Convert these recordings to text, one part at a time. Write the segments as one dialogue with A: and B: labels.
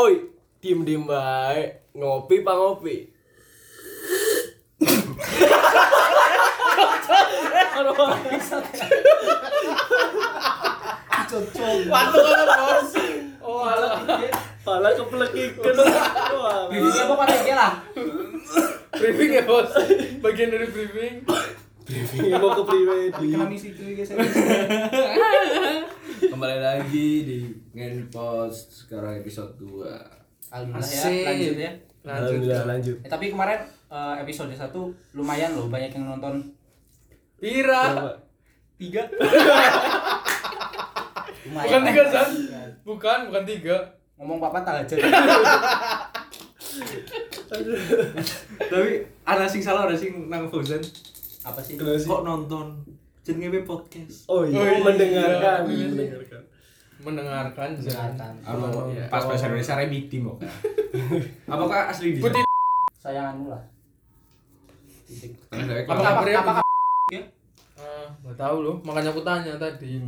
A: Oi, diem diem bae. Ngopi pa ngopi.
B: Waktu kan bos.
C: Oh, alah.
A: Pala keplek ikan.
C: Bibisnya kok pada Iya, dia lah.
A: briefing ya, Bos. Bagian dari briefing. briefing mau ke pribadi.
C: Kami situ guys.
B: Kembali lagi di Ngenpos sekarang episode 2
C: Alhamdulillah ya,
B: Asik.
C: lanjut ya. Lanjut.
A: Alhamdulillah, lanjut.
C: Eh, tapi kemarin eh, episode 1 lumayan loh banyak yang nonton.
A: Pira.
C: Tiga. lumayan.
D: Bukan tiga, San. Bukan, bukan tiga.
C: Ngomong Pak Patah aja.
B: Tapi ada sing salah ada sing nang Frozen
C: Apa sih?
B: Kok nonton jenenge podcast
A: Oh iya,
D: Oh, iya.
A: mendengarkan.
D: Iya.
A: mendengarkan.
D: Mendengarkan, Zan.
C: Dengarkan.
B: Apa
A: Iya.
B: pas bahasa Indonesia remiti mau kan Apakah asli di
D: Putih.
C: Sayanganmu lah. Titik.
D: Apa
B: Apakah
D: kabarnya?
C: apa-
D: Ah, nggak tahu loh. Makanya aku tanya tadi.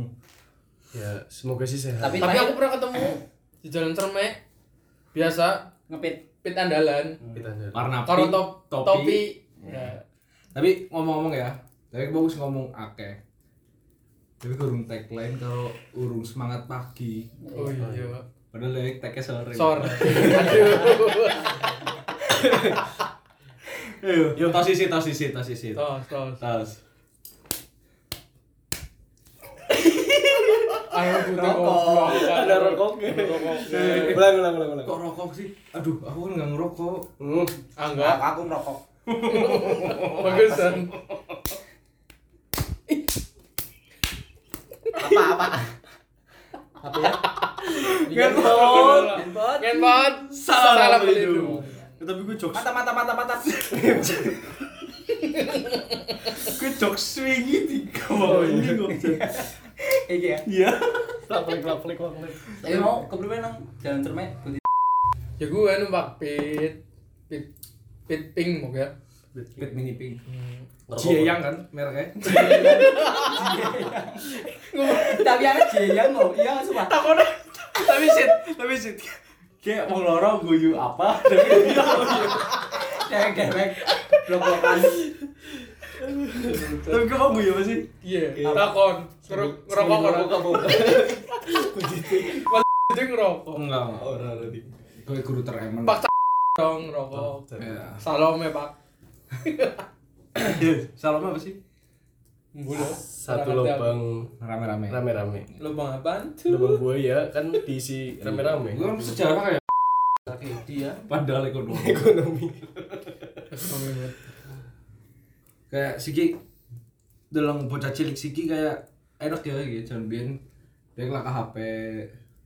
A: Ya, semoga sih sehat.
C: Tapi
D: Tapi aku
C: terakhir
D: pernah ketemu di jalan cermek biasa
C: ngepit.
D: pit andalan.
A: kita ada.
B: warna
D: Karo
B: pink,
D: top
B: topi.
D: topi. Ya.
B: Tapi ngomong-ngomong ya, tapi bagus ngomong akeh. Tapi kurung tagline kalau urung semangat pagi.
D: Oh iya.
B: Padahal dari tagnya sore.
D: Sor. Aduh.
B: Yuk, tos isi, tos isi, Iya. tos isi.
D: Tos, tos.
B: Tos.
D: Ayo putih
C: Rokok.
D: goblok.
A: Ada rokoknya.
D: Ada rokoknya.
A: Ulang, ulang, ulang, ulang.
B: Kok rokok sih? Aduh, aku kan nggak ngerokok.
A: Hmm.
D: Ah, enggak.
C: Aku, aku merokok.
D: Bagus, Zan.
C: Apa apa? apa ya?
D: Ngentot. Ngentot. Salam pelindung.
B: Ya, tapi gue jokes,
C: Mata mata mata mata.
B: gue jokes swingy tiga bawah ini gue.
C: Iya.
B: Iya.
A: Plak-plek, plak-plek, plak-plek.
C: Tapi mau ke Brunei nang jalan cermek putih.
D: Ya gue numpak pit pit pit pink mau ya.
B: Pit mini pink.
A: Rokok.
B: Jieyang kan mereknya.
C: Tapi ada jeyang loh. Iya sumpah.
B: Takutnya, tapi shit, tapi shit. Kayak mau lorong guyu apa? Tapi
C: iya. Dewek-dewek. Blok-blokan.
B: tapi gue mau guyu apa sih?
D: Iya, takon. Ngero- Ngerokok orang. Jadi ngerokok.
B: enggak.
A: Oh, Orang tadi.
B: Gue guru teremen.
D: Pak dong
A: Oh,
D: ngerokok.
B: Ya.
D: Salome, Pak.
B: Salam Iya. apa sih?
D: Mulu.
A: Satu lubang
B: Rame-rame.
A: rame-rame.
D: Lubang apaan tuh?
A: Lubang buaya kan diisi rame-rame.
B: Gue kan sejarah kayak ya.
C: Dia.
B: padahal ekonomi. kayak Siki dalam bocah cilik Siki kayak enak ya gitu jangan biar dia kelakah HP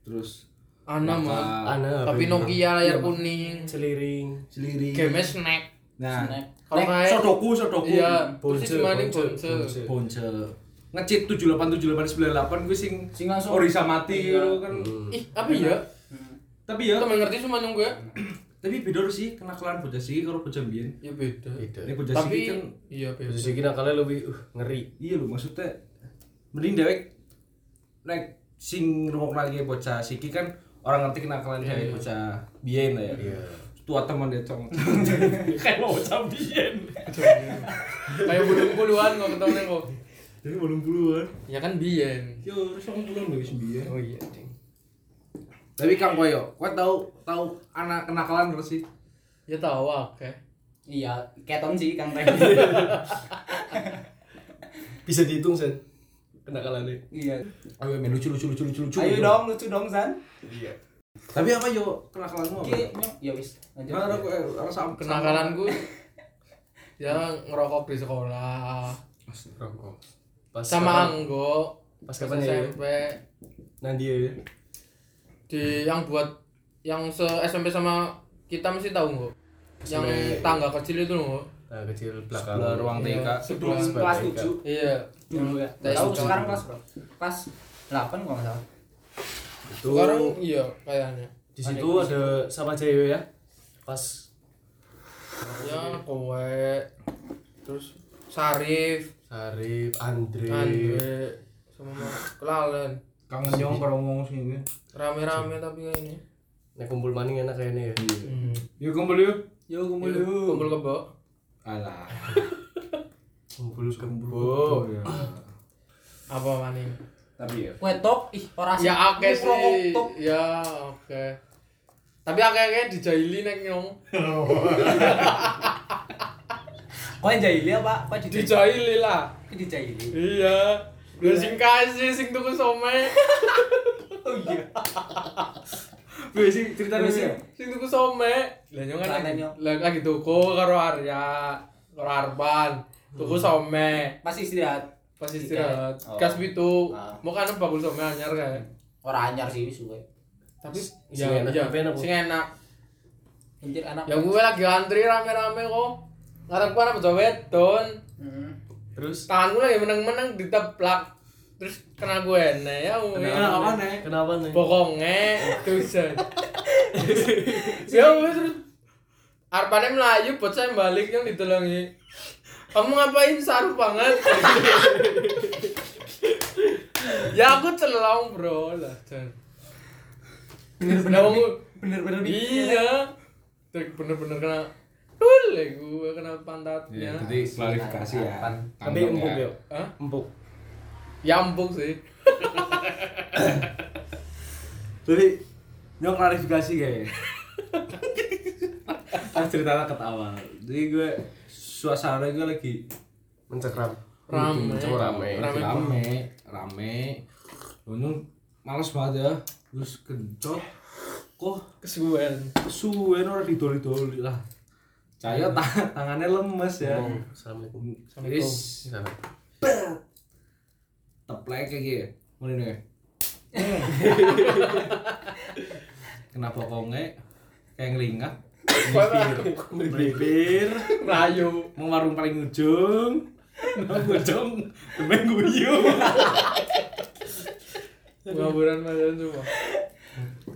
B: terus
D: Ana mah.
B: kelakah
A: Ana
D: Tapi Nokia layar kuning.
A: celiring.
B: seliri
D: Game snack.
B: nah
C: Snack.
D: Kalau
B: Nek,
D: kayak
B: sodoku sodoku
D: Iya, terus
A: Bonce,
D: di mana
A: bonce,
D: bonce?
A: bonce.
B: bonce ngecit tujuh delapan tujuh delapan sembilan delapan gue sing
C: Sing langsung.
B: orisa mati
C: Iya.
B: gitu kan
D: Ih, apa ya?
B: tapi ya
D: Kita ngerti cuma nunggu ya.
B: tapi beda sih kenakalan bocah Siki kalau bocah biyen
D: Ya beda.
A: Beda.
B: ini bocah Siki
D: Tapi
B: kan
D: iya beda.
A: Posisi kini akalnya lebih uh, ngeri.
B: iya loh maksudnya mending dewek naik sing rumah lagi bocah siki kan orang ngerti kenakalan dewek bocah biyen lah ya tua teman dia cong kayak mau bocah biyen
D: Kayak burung puluhan kok ketemu neng kok.
B: jadi belum puluhan
D: Ya kan biyen.
B: yo harus orang puluhan loh sih biyen
D: Oh iya, ding.
B: tapi kang koyo kowe tau tau anak kenakalan terus sih
D: Ya tahu oke.
C: Iya. Keton sih Kang Teh.
A: Bisa dihitung, Sen. Kenakalannya.
C: Iya.
B: ayo main lucu lucu lucu lucu lucu
C: Ayo dong lucu dong San.
A: Iya.
B: tapi apa yo kenakalanmu apa
C: Oke. Ya wis. Lanjut.
B: Nah, aku orang sama
D: Kenakalanku ya ngerokok di sekolah
A: Rokok. Pas
D: sama
A: kapan-
D: anggo
A: Pas kapan ya?
D: SMP
A: Nanti ya. ya?
D: di yang buat yang se SMP sama kita mesti tahu nggak yang
A: SMP.
D: tangga kecil itu nggak
A: Nah, kecil belakang.
B: sebelah ruang TK
D: Iya.
C: Sebelum
D: Sebelas
C: kelas
A: baik,
C: 7
D: iya
C: dulu ya.
D: Kelas
C: Tahu
D: tujuh.
C: sekarang kelas berapa? Kelas 8 kalau nggak salah.
A: Itu
D: sekarang iya kayaknya
A: di situ ada sama cewek ya. Pas
D: ya kowe terus Sarif
A: Sarif, Andre.
D: Andre sama kelalen
B: Iya. kangen nyong kalau ngomong sini
D: rame-rame tapi kayaknya Iya,
A: Nek kumpul maning enak kayaknya ya.
B: Yuk Iya. kumpul yuk.
C: Yo Hmm. kumpul
D: Kumpul kebo.
B: Alah.
A: Kumpul
B: Oh.
A: kebo.
B: ya.
D: Apa maning?
B: Tapi ya.
C: Wetok ih ora asik.
D: Ya oke
C: Ini rokok
D: sih.
C: tok.
D: Ya oke. Tapi akeh-akeh dijahili nek nyong.
C: Kau yang jahili apa? Kau di
D: Dijahili lah.
C: Kau di jahili.
D: Iya. Lu sing kasih sing tuku somai.
C: Oh iya.
B: Gue sih cerita
C: Wih, sih.
D: sing tuku somai. Lah nyong kan
C: Lantai,
D: lagi-
C: Nyong.
D: lagi lagi tuku karo Arya, karo Arban. Tuku somai.
C: Masih istirahat.
D: Pas
C: Tiket.
D: istirahat,
C: Oh.
D: gas pitu.
C: Ah.
D: Mau kan bakul somai anyar kae.
C: Ora anyar sih suwe.
D: Tapi
A: sing
D: ya
A: enak,
D: iya,
A: tapi enak, Bu.
D: sing enak.
C: Anjir anak.
D: Ya gue lagi antri rame-rame kok. Ngarep kan apa jawet, Don.
C: Heeh.
A: Terus
D: Tangan gue lagi meneng-meneng diteplak. Terus kena gue enek ya. weh.
B: Iya, nih?
A: kenapa Eh, nih?
D: Bokonge dosen. eh. ya wes terus Arpane melayu buat saya balik yang ditolongi. Kamu ngapain saru banget? ya aku celong bro lah Jon. Nah, wong-
C: Bener-bener
D: Iya. Terus bener-bener kena tul ya gue kena pantatnya.
B: Ya, jadi klarifikasi ya.
A: Tapi
B: Tangkap
A: empuk
B: ya.
A: yuk.
D: Hah?
A: Empuk.
D: Ya empuk sih.
B: Jadi nyok klarifikasi kayak. Pas ceritanya ketawa. Jadi gue suasana gue lagi
A: Mencekram.
D: Rame.
B: Cuma rame,
D: Rame.
B: rame, rame, rame. Untung males banget ya. Terus kencot. Kok
D: Kesuwen.
B: suwe ora didoli-doli lah. Cahaya ta- tangannya lemes ya.
A: Hmm. Assalamualaikum.
B: Wis teplek kayak gitu. Mulai nih. Kenapa konge? Kayak ngelingak. Melipir.
D: Rayu.
B: Mau warung paling ujung. Nang ujung. Temen guyu.
D: Ngaburan macam semua.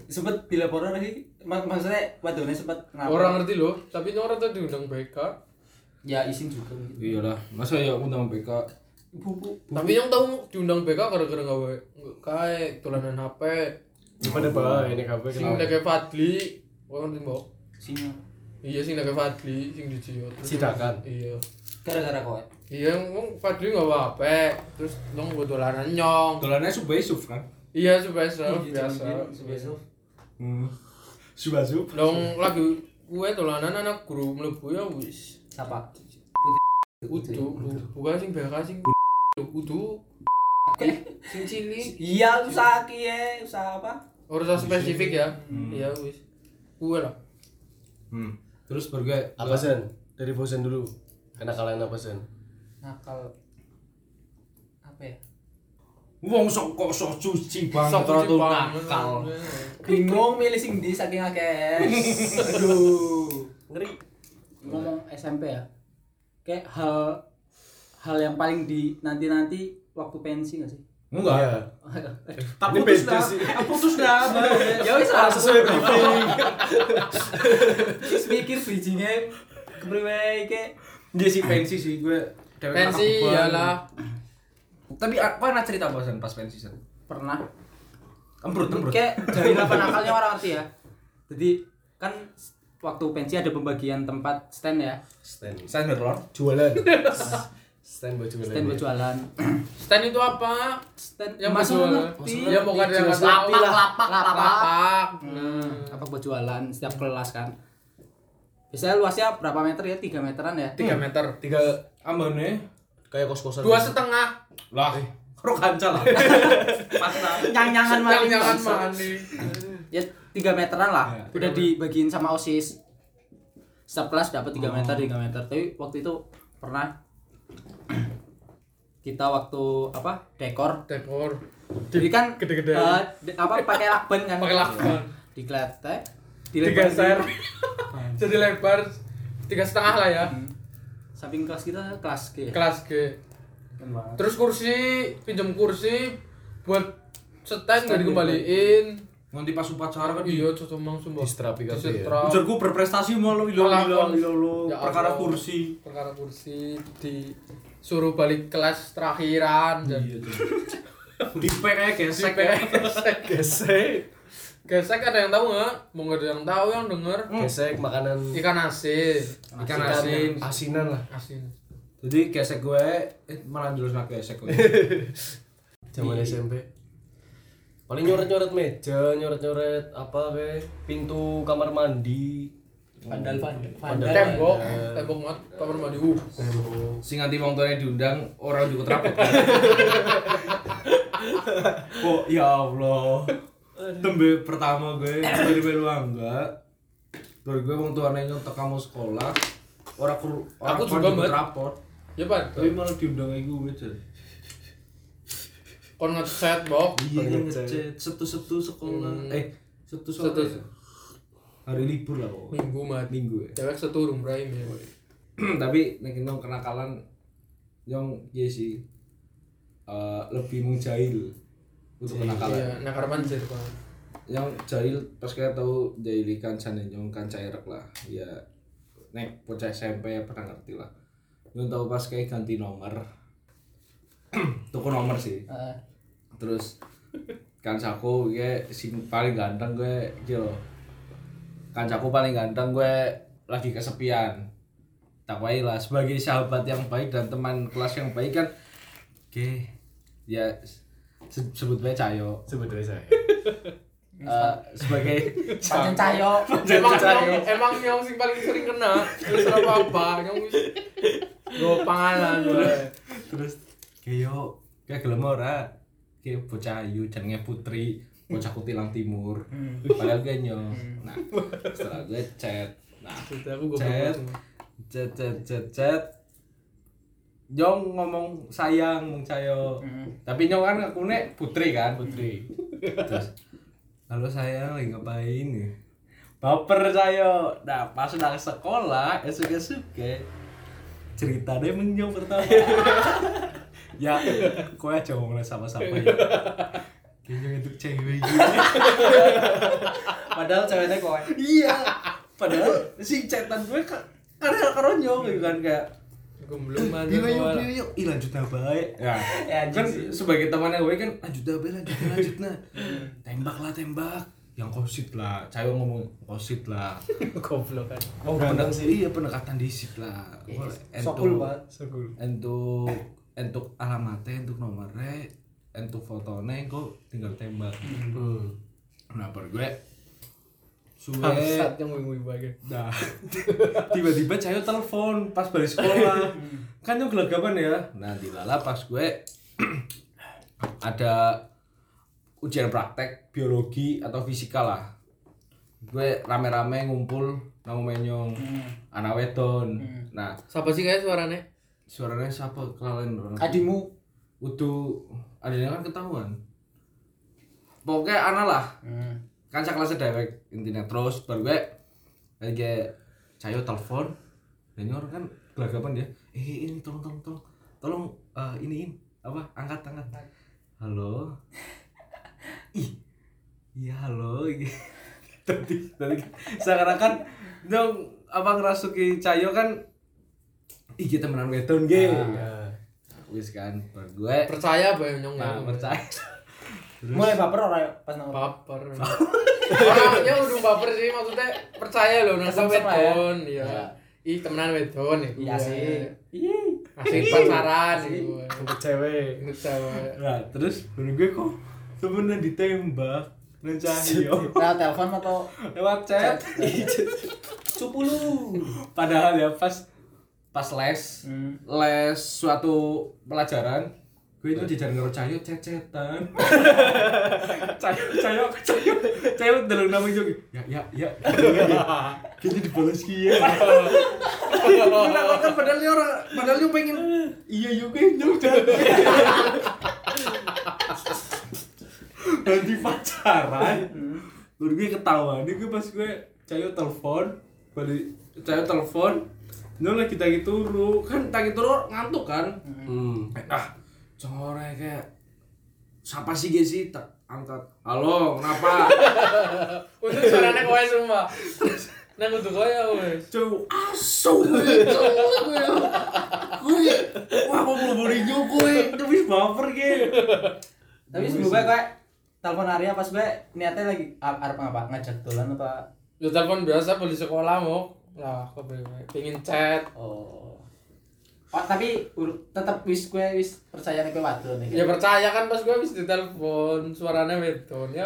C: Sempet dilaporin lagi. Mak- Maksudnya wadone sempet kenapa?
D: Orang ngerti loh, tapi ini orang tuh diundang BK.
C: ya isin juga mungkin.
B: Iyalah, masa ya aku nang BK.
C: Ibu-ibu.
D: Tapi yang tahu diundang BK gara-gara nggak wae nggak kae tulanan HP.
A: Gimana pak? Ini kafe
D: Sing
A: kenapa?
D: ndek Fadli, kok ngerti mbok?
C: Sinyal.
D: Iya sing ndek Fadli, sing dijiot.
A: Sidakan.
D: Iya.
C: Gara-gara eh. kowe.
D: Iya, wong Fadli nggak apa Terus dong buat tulanan nyong.
B: Dolannya subuh sub kan?
D: Iya, supaya serem,
C: Iya,
D: biasa.
C: cuman gini, biasa.
B: Hmm. Subuh sub.
D: Dong lagi gue tulanan anak guru mlebu ya wis.
C: Siapa?
D: Udu, bukan sing BK sing udu. Sing cilik.
C: Iya, usaha kie, usaha apa?
D: Urusan spesifik ya. Iya wis. Gue lah.
B: Hmm. Terus baru gue
A: Apa sen? Dari bosen dulu. Kenakalan apa sen?
C: Nakal. Apa ya?
B: Wong sok kok sok suci banget
D: Sok
B: orang tuh
D: Jepang.
B: nakal.
C: Bingung milih sing di saking akeh. Aduh.
A: Ngeri.
C: Ngomong SMP ya. Kayak hal hal yang paling di nanti-nanti waktu pensi gak sih?
B: Enggak.
A: Iya.
B: Tak
A: Ini
B: putus
A: beda
B: dah.
A: sih.
B: Tak putus dah.
C: ya wis lah.
A: Sesuai briefing.
C: Terus mikir bridgingnya kepriwe kayak
B: Dia sih pensi sih gue. dewek
D: Pensi
B: takut banget.
D: iyalah.
B: Tapi aku pernah cerita bosan pas pensi sen.
C: pernah
B: Embrut embrut.
C: kayak dari lapan akalnya orang ngerti ya. Jadi kan waktu pensi ada pembagian tempat stand ya,
A: Stand.
B: Saya berlor.
A: Jualan. Stand buat jualan. ya.
C: stand buat jualan.
D: Stand itu apa?
C: Stand
D: Yang
C: masa
D: buat jualan.
C: ngerti.
D: Ya bukan yang
A: Jualan
D: lapak,
A: sapi lah.
D: lapak, lapak.
C: Hmm, apa buat jualan setiap kelas kan. Biasanya luasnya berapa meter ya? 3 meteran ya.
D: Tiga meter.
A: Tiga
B: Ambane.
A: kayak kos-kosan.
D: Dua setengah.
B: Lah. Kro kanca lah.
C: Nyang-nyangan
D: Yang
C: maling.
D: jangan manis.
C: Ya 3 meteran lah.
B: Ya,
D: tiga
C: Udah dibagiin sama OSIS. Setiap kelas dapat 3 meter, 3 meter. Tapi waktu itu pernah kita waktu apa? Dekor
D: Dekor.
C: Jadi kan
D: gede-gede.
C: eh, de- apa pakai lakban kan? eh,
D: Pakai lakban.
C: Dikletek,
D: Tiga
C: dilebar
D: ser.
C: di-
D: Jadi lebar. Tiga setengah lah ya.
C: Samping kelas kita kelas G.
D: Kelas G.
C: Keren banget.
D: Terus kursi, pinjam kursi buat stand gak dikembaliin.
B: Nanti pas upacara kan di
D: Iya, cocok mang sumpah.
A: Diserapi kabeh ya.
D: Diserap.
B: Ujar gue berprestasi malu ilo ilo
D: Pelakon.
B: ilo lo
D: Ya
B: perkara
D: Allah.
B: kursi.
D: perkara kursi disuruh balik kelas
B: Iya.
D: terakhiran dan
B: Di PE gesek
D: Gesek.
B: gesek.
D: ya. Gesek ada yang tahu nggak? Mau nggak ada yang tahu yang denger?
A: Gesek makanan
D: Ikan asin.
B: Ikan asin.
A: asinan lah.
D: Asin.
B: Jadi gesek gue eh, malah jurus nak gesek gue.
A: Zaman SMP. Paling nyoret-nyoret meja, nyoret-nyoret apa be, pintu kamar mandi.
E: Vandal, vandal,
A: Vandal.
E: vandal.
D: Tembok, tembok mat, kamar mandi. Uh.
B: Sing nanti wong tuane diundang orang juga terapot. oh ya Allah. Tembe pertama gue dari belu angga. Dari gue wong tuane nyentak kamu sekolah. Orang kur orang
D: Aku
B: kon
D: juga,
B: juga
D: Mbak.
B: terapot.
D: Ya pan,
A: Tapi malah diundang iku meja.
D: kon ngeset bok.
B: Iya ngecet setu-setu sekolah. Eh setu sekolah.
D: Setu.
B: Hari libur lah pokoknya.
D: Minggu mat.
B: Minggu ya.
D: Cewek seturun Ibrahim ya.
B: tapi nek nong kenakalan yang ya sih eh, lebih mung jahil
D: Iya,
B: untuk kenakalan
D: nah karpan sih pan.
B: yang jahil pas kita tahu jahili kancane yang kanca erek lah ya nek bocah SMP ya pernah ngerti lah yang tahu pas kayak ganti nomor tuku nomor sih
C: Heeh.
B: terus kancaku gue sing paling ganteng gue iki lho. kancaku paling ganteng gue lagi kesepian tak wae lah sebagai sahabat yang baik dan teman kelas yang baik kan oke ya se- sebut bae Cahyo
A: Sebetulnya saya.
B: Eh, sebagai
C: Pancen Cahyo.
D: Emang nyong, emang nyong sing paling sering kena. Terus apa apa? Nyong wis. Go pangalan. Bro.
B: terus kayo kayak gelem ora kayak bocah ayu jenenge putri bocah kutilang timur padahal gue nyo nah setelah gue chat nah
D: Sudah, aku goblok
B: chat
D: banget.
B: chat chat chat chat Jong ngomong sayang mung cayo. Tapi nyong kan aku nek putri kan. Putri. Terus lalu saya lagi ngapain ya? Baper saya. Nah, pas udah ke sekolah, esuk-esuk ceritanya menyong pertama ya kowe aja ngomongnya sama-sama ya kayaknya untuk cewek gitu
E: Padahal ceweknya kowe.
B: iya padahal si cetan gue ka- karena karo nyong gitu kan kayak
D: Goblok banget.
B: Biwa yuk,
D: kawan.
B: biwa yuk, ih lanjut nah baik ya.
E: Ya, anjing
B: kan
E: sih.
B: sebagai temannya gue kan lanjut nah baik, lanjut nah, lanjut nah Tembak lah tembak Yang kosit lah, cewek ngomong kosit lah
D: Goblok kan.
B: Oh ganteng sih Iya pendekatan disit lah Wah,
E: Sokul
B: ento-
E: banget.
A: Sekul.
B: untuk untuk alamatnya untuk nomornya untuk fotonya kok tinggal tembak nah per gue
C: Eh.
B: suwe
D: Bangsat yang wibu-wibu aja.
B: dah Nah, tiba-tiba cahyo telepon pas balik sekolah kan yang gelagapan ya nah di lala pas gue ada ujian praktek biologi atau fisika lah gue rame-rame ngumpul nang menyong anak weton nah
D: Siapa sih kayak suaranya?
B: suaranya siapa kelalen orang
C: Adimu.
B: Udu adanya kan ketahuan. Pokoknya ana lah, kanca kelas dewek intinya terus baru gue kayak cayo telepon dan orang kan gelagapan dia eh ini tolong tolong tolong tolong eh, iniin apa angkat angkat halo ih iya halo tadi tadi seakan-akan dong apa ngerasuki cayo kan ih kita menang weton ge
E: Ah,
B: wis kan baru gue
D: Percaya apa yang nyong? ya.
B: Nah, percaya.
E: Mulai baper ora yuk pas nang.
D: baper. Orangnya udah baper sih maksudnya percaya loh nang
E: Kesem-sem lah ya.
D: wedon ya. Ih, temenan wedon ya.
E: Iya sih.
D: Asik pacaran iku. ya.
A: Cewek.
D: Ngetawa.
B: Nah, terus baru gue kok temenan ditembak dan Cahyo
C: Lewat telepon atau
B: lewat chat.
E: Cupu lu.
B: Padahal ya pas pas les,
C: Hmm.
B: les suatu pelajaran gue itu dijar karo Cahyo cecetan. Cahyo Cahyo Cahyo Cahyo delok nama yo. Ya ya ya. Kita dibalas ki ya. Nah, kan padahal dia orang padahal dia pengen iya yo gue nyok nanti pacaran baru gue ketawa ini gue pas gue cayo telepon balik cayo telepon ini lagi tagi turu kan tagi turu ngantuk kan
A: Hmm.
B: Eh, ah core kayak siapa sih guys sih tak angkat halo kenapa
D: Untuk suaranya kowe semua. Nang untuk kowe wes.
B: cowok asu gue cowok gue gue wah mau beli beli gue tapi baper gue
E: Tapi sebelumnya kowe
C: telepon Arya pas gue niatnya lagi ar- arep ngapa ngajak dolan apa
D: Lu telepon biasa beli sekolah mau. Lah, kok pengen- pengen chat.
C: oh oh tapi ur- tetep wis gue wis percaya nih gue wadon nih
D: Ya percaya kan pas gue habis ditelepon suaranya weton ya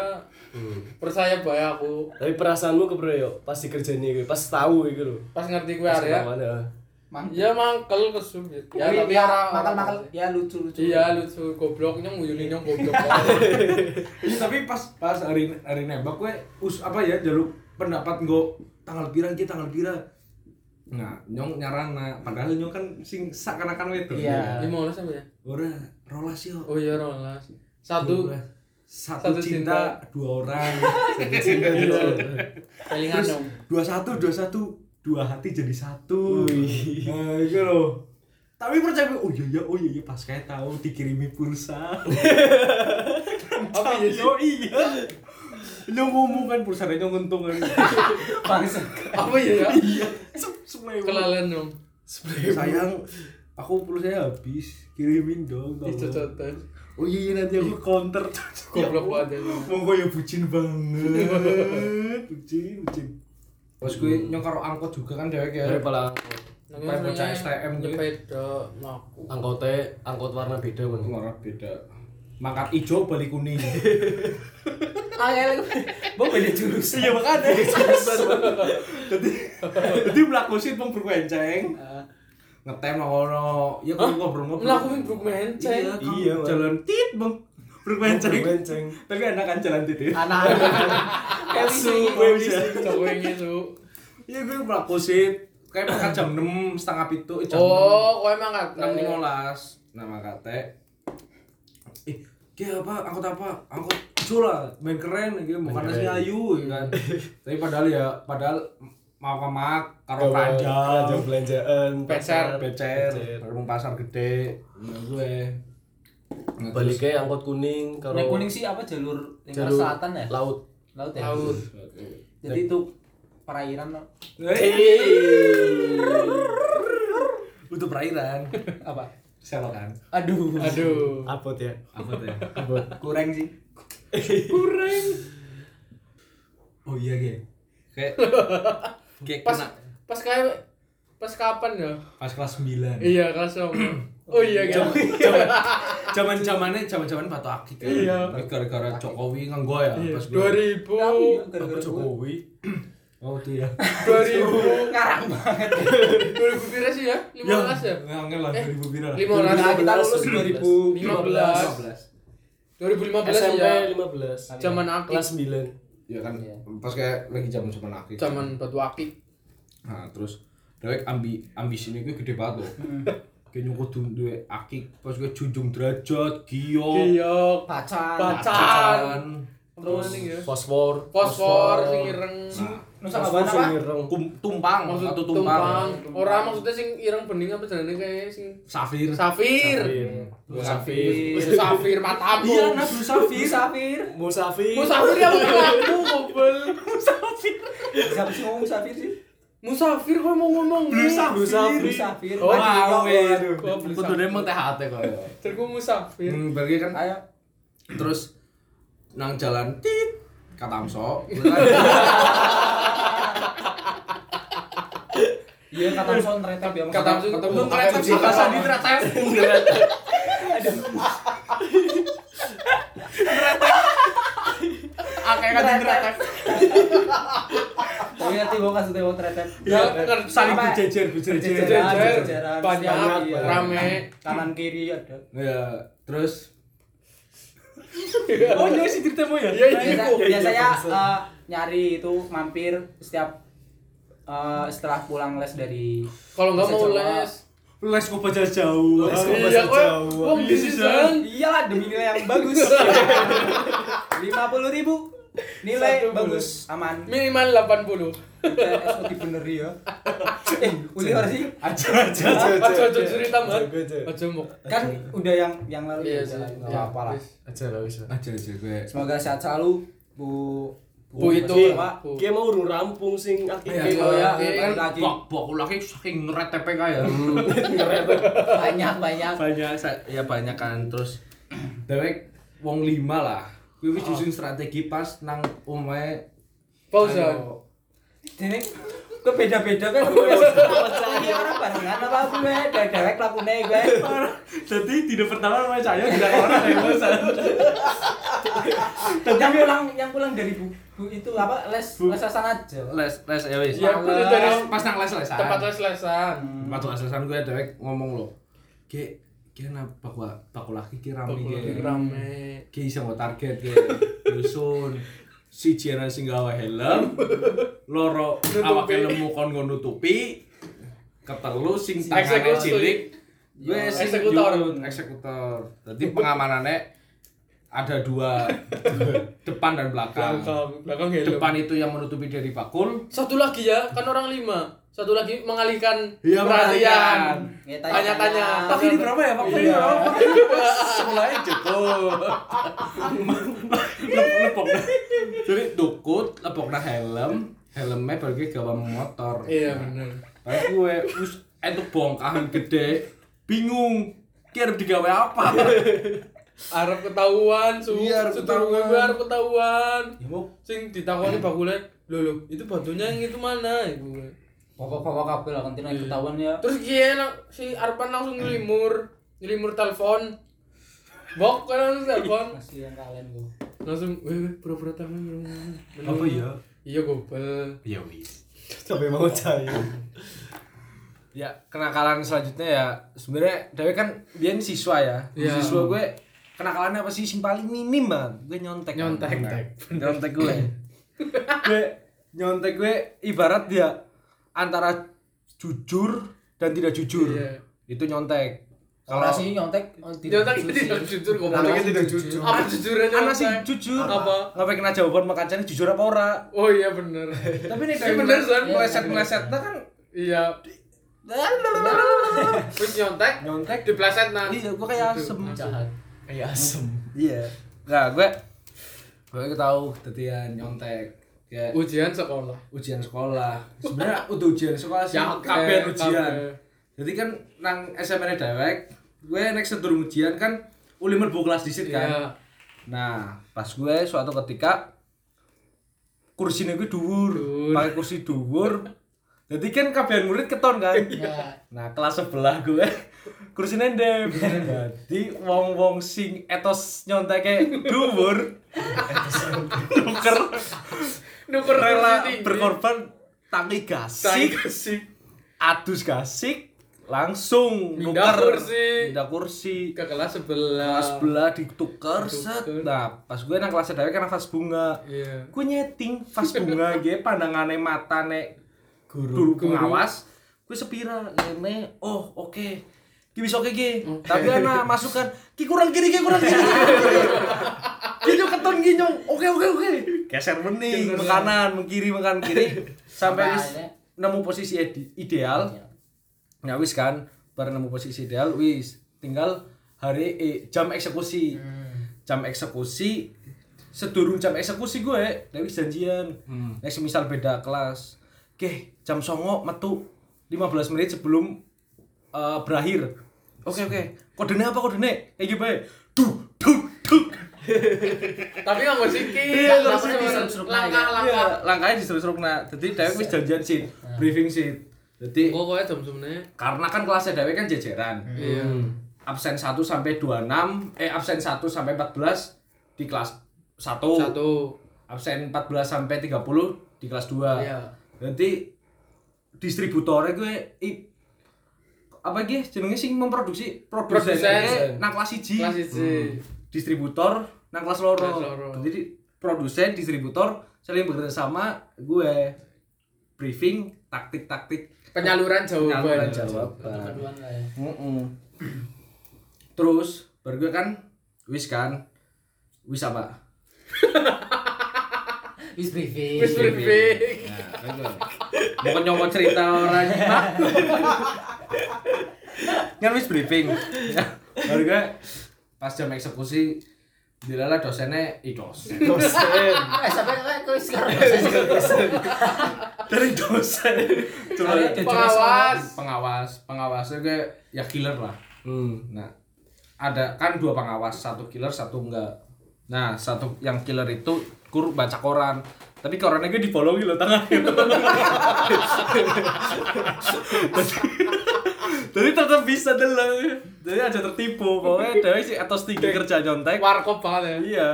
D: percaya bae aku
A: Tapi perasaanmu ke bro yo pas dikerjain gue, pas tahu gitu loh.
D: pas ngerti gue Arya.
C: Mang-
D: Ya mangkel kesum ya.
B: Iya,
C: ya,
D: Ya tapi
C: ya,
D: ora-
C: makal makal ya lucu lucu
D: Iya lucu gobloknya nguyulin yang goblok.
B: Iya, tapi pas pas hari hari nembak gue us apa ya jaluk pendapat gue tanggal pirang ki tanggal pirang. Nah, nyong nyaran nah, padahal nyong kan sing seakan-akan wedo.
C: Iya.
D: Lima belas apa ya?
B: Ora rolas yo.
D: Oh iya rolas. Satu
B: Rolas. satu,
D: Satu
B: cinta, dua orang. satu cinta dua orang.
A: Iya.
D: kelingan
B: Terus
D: dong.
B: dua satu dua satu dua hati jadi satu. Nah, itu loh. Tapi percaya gue, oh iya iya, oh iya iya, pas kayak tahu dikirimi pulsa.
D: Apa ya sih?
B: Oh iya. Lu ngomong kan pulsanya nguntung kan.
C: bangsa
D: Apa ya? ya?
B: Iya. Kelal-
D: Kelalen dong.
B: Sayang, aku pulsanya habis. Kirimin dong. tolong.
D: Dicocotan.
B: Oh iya iya, nanti aku counter.
D: Goblok banget. ya.
B: Mau gue ya bucin banget. Bucin, bucin. Terus gue nyokar angkot juga kan dewek ya.
D: Iya,
A: Daripada
B: Kayak bocah STM gitu.
D: Nyepeda mlaku.
A: angkotnya angkot warna beda kan.
B: Ngorok beda. Mangkat ijo balik kuning.
C: makanya gue beda jurusan
B: Iya makanya. Jadi jadi melakukan pun berkuenceng. Ngetem lah kono. Ya
D: Ah. Hah?
B: kok ngobrol-ngobrol.
D: Mlaku ini bruk menceng.
B: Iya, kamu
A: Iya, Bang.
B: jalan tit, Bang. Berkuenceng.
A: Benceng.
B: Tapi enak kan jalan tit. ya?
C: anak
B: Asu, gue Iya, bisa.
D: Cowok gitu.
B: Iya gue melakukan kayak makan jam 6 setengah pitu eh, jam
D: Oh, kowe emang kata.
B: 6 15 nama kate ih kayak apa angkot apa angkot cula main keren gitu bukan si ayu ya kan tapi padahal ya padahal mau ke mak karo
A: Belanja,
B: ranjang
A: belanjaan.
D: Pecer.
B: becer
A: Becer.
B: baru pasar gede Nah, gue Nah, terus-
A: Baliknya angkot kuning karo
C: Nek kuning sih apa jalur lingkar
A: jalur
C: selatan ya
A: Laut.
C: laut ya
D: Laut.
C: jadi itu perairan no.
B: Hei. untuk perairan
C: apa
B: selokan
C: aduh
D: Aduh.
A: Abot ya.
B: apa tuh ya
C: kurang sih
D: Kurang.
B: oh iya ge kayak kayak
D: Pas
B: kena
D: pas kayak pas kapan ya?
B: pas kelas 9
D: Iya, kosong. Oh iya kan.
B: zaman zamannya zaman zaman batu akik kan
D: Iya.
B: gara-gara Jokowi nganggo ya
D: Iya,
B: pas gue
D: 2000
B: Apa Jokowi oh itu ya
D: 2000
C: ngarang banget
D: 2000 pira sih ya? 15 ya?
B: ngangel lah
D: Eh,
B: 2000 kira lah.
D: 15
C: kita lulus
D: 2015. 2015
A: SMP
D: ya.
A: 15.
D: Zaman aku
A: Kelas 9.
B: ya kan pas kayak lagi zaman zaman akik
D: Iya. zaman batu akik.
B: nah terus dewek ambi ambisi ini gue gede banget loh
D: Hmm.
B: kayak nyokot duwe akik pas gue junjung derajat gio
D: Giok.
C: pacar
D: Pacan.
C: Terus,
D: Terus ya.
A: Fosfor.
D: Fosfor sing ireng.
C: nusa
A: Fosfor
C: Sabana
A: sing
C: apa
A: ireng.
B: Kum- Nah, tumpang
D: Maksud
B: Nah, maksud tumpang,
D: tumpang. Ora maksudnya sing ireng bening apa jenenge kayak sing
B: safir
D: Safir.
A: Musafir.
D: Wis Safir matamu. Iya, nah.
C: Safir Safir
A: Musafir.
D: Musafir ya aku mobil.
C: siapa sih ngomong Safir sih
D: Musafir kok mau ngomong.
C: Safir Safir
D: Oh,
B: wow,
C: Aduh, ya
D: Kok
B: weh.
D: beli safir?
B: Kudune emang THT kok. ya.
D: Terku musafir.
B: Hmm, bagi kan
C: Allah. ayo
B: terus nang jalan tit katamso.
C: iya kata son retep ya
D: Kata
C: Mas.
D: ketemu
B: Lu
D: kereta
B: ngeretep
D: sih
B: sih
D: kata
B: di kereta.
D: akeh kan kereta.
C: tapi nanti gua kasih tahu retep
D: Ya ngerti
B: kan Saling
C: Iya. Apa?
B: berjejer, berjejer.
C: Berjejer.
D: Jejer,
C: Jajaran,
D: banyak
C: iya.
D: rame.
C: kanan kiri ada
B: Ya, terus
D: Oh,
B: iya sih cerita
D: Iya,
B: ya.
D: iya.
C: Biasa-
D: Bu.
C: biasanya eh, nyari itu mampir setiap eh, setelah pulang les dari
D: Kalau nggak mau
C: Bisa coba.
D: les.
B: Les kok baca jauh.
A: Les kok
D: Iya,
A: bahasa
D: kowe
A: Jawa.
D: wong di
B: iya.
D: season.
C: iyalah Iya, demi nilai yang bagus lima puluh ribu nilai
D: Satu
C: bagus aman
D: Minimal 80.
C: UTS kok dibeneri ya eh udah harus sih
B: Aja aja aja.
D: Aja
B: aja.
D: aja cerita man.
A: Jago, jago.
D: Aja muk.
C: kan udah yang yang lalu ya
D: Iya sih.
C: udah, nggak
D: Iya,
C: apa-apa lah
D: wis.
A: Aja lah wis.
B: Aja aja gue.
C: semoga sehat selalu bu
D: Bu itu
A: Ki,
D: Pak. Bu.
A: Ki mau urung rampung sing aktif.
B: Iya,
C: oh ya
D: Oke.
C: balik lagi
B: Bok bok lagi saking ngeretep kayak.
C: banyak banyak
B: Banyak sa- ya banyak kan terus dewek wong lima lah. Kuwi wis disusun strategi pas nang omahe
D: Pausan.
E: Dene kok beda-beda kan. Ini orang barengan apa aku gue dewek lakune eh? gue.
F: Jadi tidak pertama namanya saya tidak orang yang bosan.
E: Yang pulang yang pulang dari bu, bu itu apa les lesasan aja.
B: les les ya wis.
D: Ya, aku dari
B: Pas nang les lesan.
D: tempat les-lesan.
B: Waktu lesan gue dewek ngomong lo. Ki ki nang bakwa bakwa laki ki rame ki.
D: Rame.
B: Ki iso nggo target ki. Nyusun si Jena sing gawe helm, loro awak helmmu kon nggo nutupi, ketelu sing tangane
D: Eksekusi.
B: cilik gue sing
D: Eksekutor.
B: nyuwun, eksekutor jadi pengamanannya ada dua depan dan belakang
D: Belakang, belakang helm.
B: depan itu yang menutupi dari bakul
D: Satu lagi ya, kan orang lima. Satu lagi mengalihkan
B: Iya,
D: perhatian.
B: mengalihkan.
E: Ya, tanya-tanya.
D: Tanya-tanya.
B: Pak ini berapa ya pak ini berapa semuanya cukup Lep- lepok dah. jadi dukut lepok dah helm helmnya bagi gawa motor
D: Iya benar.
B: Tapi gue wis entuk bongkahan gede bingung kira digawe apa
D: Arab ketahuan, su
B: Iya, arep
D: seturungan
B: ketahuan.
D: gue Arab ketahuan.
B: ya mau
D: Sing ditakoni bakule, "Lho lho, itu bantunya yang itu mana?" Ibu. gue.
E: Pokok-pokok kabel lah kantina ketahuan ya.
D: Terus dia lang- si Arpan langsung ngelimur, ngelimur telepon. Bok kan langsung telepon.
E: Kasihan kalian gue.
D: Langsung, "Weh, weh, pura-pura tangan." pura-pura."
F: Apa ya?
D: Iya, gobel.
B: ya wis
F: Coba mau saya.
B: ya kenakalan selanjutnya ya sebenarnya Dewi kan dia ini siswa ya
D: Iya.
B: siswa gue kenakalannya apa sih sing paling minim banget gue nyontek
D: Nyontek.
B: Bener. nyontek gue gue nyontek gue ibarat dia antara jujur dan tidak jujur
D: Iya.
B: itu nyontek
E: Kalau
B: kalau
E: sih nyontek oh,
D: Dia
E: tidak
D: tak
E: jujur
D: tidak
E: sih.
D: jujur
F: Tapi
D: goblok.
F: tidak jujur.
D: Apa jujur aja?
B: anak sih
D: Bang?
B: Kan jujur
D: Apa?
B: nggak kena jawaban makanya jujur apa ora
D: Oh iya bener.
B: tapi nih
D: Iya, bener, Son.
B: meleset melesetnya kan
D: iya. Terus nyontek,
B: nyontek
D: dipleset nan. Gitu.
B: iya gue kayak asem
E: jahat.
F: Kayak asem.
B: iya nah gue gue tahu tadian nyontek Ya, kayak
D: Ujian sekolah.
B: ujian sekolah sebenarnya udah ujian sekolah sih eh,
D: Ya,
B: kabeh
D: kabeh.
B: ujian jadi kan nang SMA dewek gue next sebelum ujian kan ulimer bu kelas disit kan
D: Iya.
B: nah pas gue suatu ketika kursinya gue
D: Dhuwur.
B: dhuwur pakai kursi dhuwur jadi kan kabeh murid keton kan nah kelas sebelah gue kursinya ndem jadi wong wong sing etos nyonteknya dhuwur nuker
D: Nuker kursi
B: rela
D: tinggi.
B: berkorban tangi
D: Tai
B: gasik
D: kasih.
B: adus gasik langsung
D: Pindah
B: nuker.
D: kursi.
B: pindah kursi
D: Ke kelas sebelah.
B: kelas belah ditukar set
D: Ditukar.
B: nah pas gue nang kelas dhewe kan nang vas bunga
D: Iya.
B: gue nyeting vas bunga ge pandangane matane guru
D: Guru.
B: pengawas gue sepira ngene oh oke Ki bisa oke ki, tapi ana masukan ki kurang kiri ki kurang kiri. Ginyo keton ginyo. Oke oke oke. Geser bening, mekanan, mengkiri, mekanan kiri sampai wis nemu posisi ide- ideal. Ya wis kan, bar nemu posisi ideal wis tinggal hari eh, jam eksekusi. Jam eksekusi sedurung jam eksekusi gue, tapi janjian.
D: Hmm.
B: Next misal beda kelas. Oke, jam songo metu 15 menit sebelum eh, berakhir. Oke oke. Kodenya apa kodenya? Kayak gimana? Duh, duh, duh.
D: Tapi nggak mau sikit.
B: Iya, nggak
D: Langsung
B: mau sikit.
D: Langkah-langkah.
B: Iya, langkahnya disuruh-suruh nah. Jadi Dewi wis janjian sih, briefing sih. Jadi
D: Kok kok jam sebenarnya?
B: karena kan kelasnya Dewi kan jejeran.
D: Iya.
B: Absen 1 sampai 26, eh absen 1 sampai 14 di kelas 1.
D: Satu.
B: Absen 14 sampai 30 di kelas 2.
D: Iya.
B: Nanti distributornya gue i- apa gitu jenenge sing memproduksi produsen
D: Produsen.
B: nang kelas 1.
D: Kelas siji.
B: Hmm. distributor nang kelas loro.
D: Kelas loro.
B: Jadi produsen, distributor saling bekerja sama gue briefing taktik-taktik
D: Penyaluran jawaban. Iya.
B: penyaluran jawaban.
E: Keduan lah ya.
B: Mm-mm. Terus baru gue kan wis kan wis apa?
E: Wis briefing.
B: Iya.
D: Wis briefing.
B: Nah, kan gue. bukan nyokot cerita orang Pak. kan wis briefing. Ya, baru gue pas jam eksekusi dilala dosennya i dosen.
E: Ah, sampai kayak wis sekarang. Dosen.
B: dari dosen cuma
E: Kalian jadi
D: Pengawas.
B: pengawas pengawasnya gue ya killer lah
F: Hmm.
B: nah ada kan dua pengawas satu killer satu enggak Nah, satu yang killer itu kur baca koran. Tapi korannya gue dibolongi loh tangannya. Jadi tetap bisa deleng. Jadi aja tertipu. Pokoknya dewek sih atas tinggi kerja nyontek.
D: warkop banget ya
B: Iya.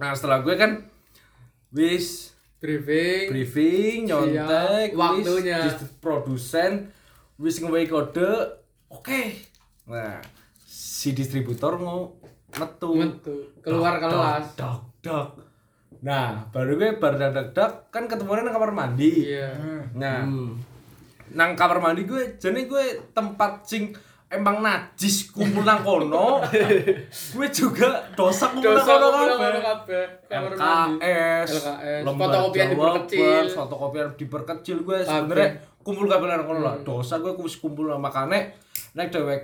B: Nah, setelah gue kan wis
D: briefing
B: briefing, nyontek,
D: Siap, waktunya.
B: wis dis- produsen, wis ngewe kode, oke. Nah, si distributor mau metu.
D: metu keluar
B: Dok, dok,
D: kelas
B: Dok, dok. Nah, baru gue baru dak dak kan ketemuan nang kamar mandi.
D: iya
B: Nah, nang kamar mandi gue jadi gue tempat sing emang najis kumpul nang kono. gue juga dosa kumpul nang
D: dosa
B: kono
D: ngono
B: kabeh.
D: ngono kabeh kamar mandi
B: LKS,
D: LKS,
B: lembar
D: fotokopian
B: jawaban,
D: diperkecil.
B: fotokopian diperkecil gue sebenarnya kumpul kabeh nang kono
D: Hmm.
B: lah. Dosa gue kumpul kumpul sama kane nek dewek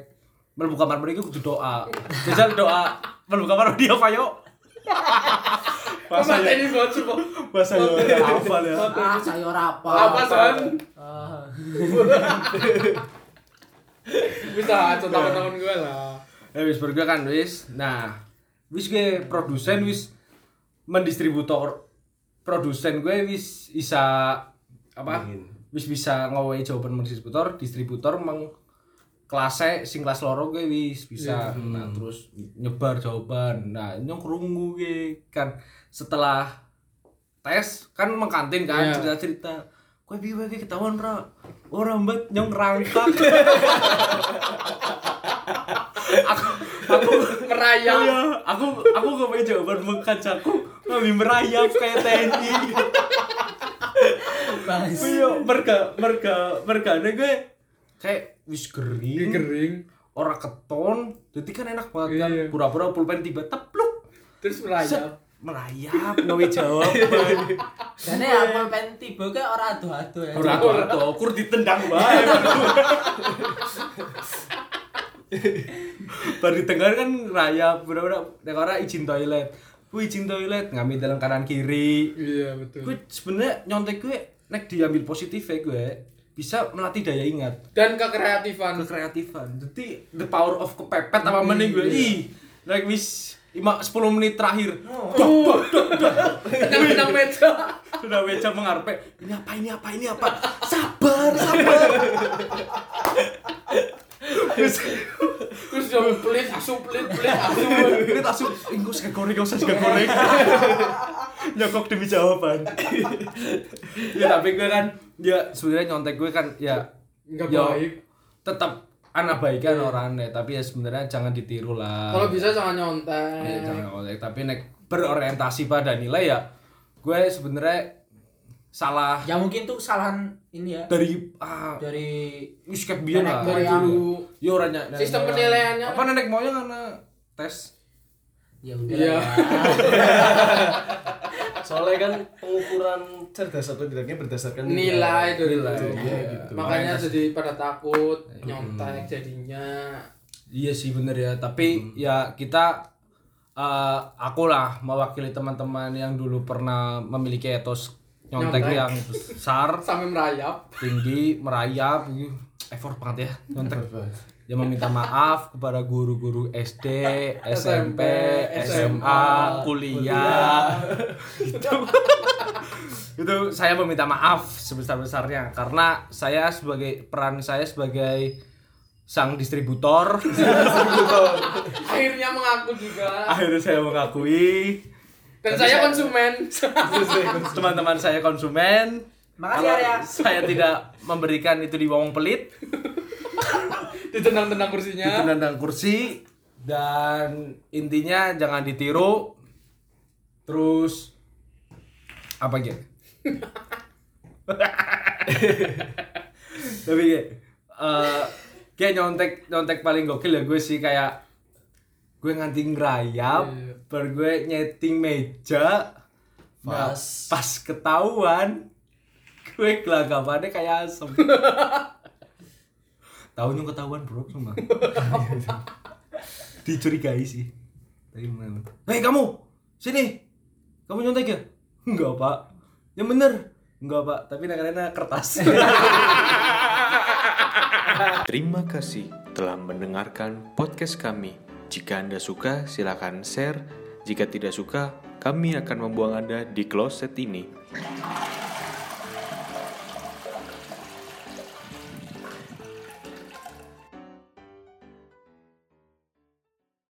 B: mlebu kamar mandi gue kudu doa. Jajal doa mlebu kamar mandi apa yuk?
D: Kok
B: ya?
D: mateni bocor kok?
F: Bahasa Yunani hafal ya.
C: Ah, sayur apa?
D: apa son bisa contoh tahun gue lah
B: Eh wis bar gue kan wis. Nah, wis gue produsen wis mendistributor produsen gue wis bisa apa? Wis bisa ngowahi jawaban mendistributor, distributor meng klase sing kelas loro gue wis bisa. Nah, terus nyebar jawaban. Nah, nyong krungu gue kan setelah tes kan mengkantin
D: Iya.
B: kan cerita-cerita. Kowe piye kowe ketahuan ra? Ora mbet nyong rangkak. aku aku
D: merayap
B: Iya, aku aku gak punya jawaban mengkacaku lebih merayap kayak TNI iya merga merga mergane gue kayak wis
D: Ini
B: kering
D: kering
B: ora keton jadi kan enak banget kan
D: Iya.
B: pura-pura pulpen tiba tepluk
D: terus merayap
B: merayap nawi jawaban
E: Jadi apa pengen tiba ke orang adu-adu ya.
B: ora ora kur ditendang bae baru dengar kan rayap bener-bener nek ora izin toilet ku izin toilet ngambil dalam kanan kiri
D: iya betul
B: gue sebenarnya nyontek gue nek diambil positifnya gue eh, bisa melatih daya ingat
D: dan kekreatifan
B: kekreatifan jadi the power of kepepet apa mending gue ih like wis ima 10 menit terakhir
D: tenang-tenang meja
B: sudah meja mengarpe ini apa ini apa ini apa sabar sabar
D: terus dia pelit asu pelit pelit asu
B: ini tak su ingku sega goreng usah sega goreng nyokok demi jawaban ya tapi gue kan ya sebenarnya nyontek gue kan ya
D: nggak
B: ya,
D: baik
B: tetap anak baik kan orang deh tapi ya sebenarnya jangan ditiru lah
D: kalau bisa jangan
B: Ya,
D: nyontek
B: jangan kontak tapi nek berorientasi pada nilai ya gue sebenarnya salah
E: Ya mungkin tuh kesalahan ini ya
B: dari ah
E: dari
B: wis kayak biyen lah
E: Nenek moyang.
D: dulu
B: yo ora nyak- nenek
D: anu. Sistem
B: moyang.
D: penilaiannya.
B: apa nenek moyang karena tes
E: ya udah.
D: Iya.
A: Soalnya kan pengukuran cerdas atau tidaknya berdasarkan
D: nilai dari
B: Nilai,
D: itu.
A: iya, gitu.
D: makanya jadi pada takut nyontek jadinya
B: iya sih bener ya tapi ya kita eh, aku lah mewakili teman-teman yang dulu pernah memiliki etos nyontek
D: Nyontek.
B: yang besar
D: sampai merayap
B: tinggi merayap gitu. effort banget ya nyontek ya meminta maaf kepada guru-guru SD, SMP, SMA, kuliah itu itu saya meminta maaf sebesar-besarnya karena saya sebagai peran saya sebagai sang distributor
D: akhirnya mengaku juga
B: akhirnya saya mengakui
D: dan saya konsumen
B: teman-teman saya konsumen
E: Makasih,
B: kalau
E: Arya.
B: saya tidak memberikan itu di wong pelit
E: Ya.
D: ditendang-tendang kursinya
B: ditendang kursi dan intinya jangan ditiru terus apa gitu tapi kayak eh, kayak nyontek nyontek paling gokil ya gue sih kayak gue nganti ngerayap
D: Iya.
B: baru gue nyeting meja Nah,
A: Pas.
B: pas ketahuan gue gelagapannya kayak asem tahunnya ketahuan bro cuma dicurigai sih tapi mana hei kamu sini kamu nyontek ya enggak pak yang bener enggak pak tapi
E: Iya,
B: nakalnya kertas
G: Terima kasih telah mendengarkan podcast kami. Jika Anda suka, silakan share Jika tidak suka, kami akan membuang Anda di kloset ini.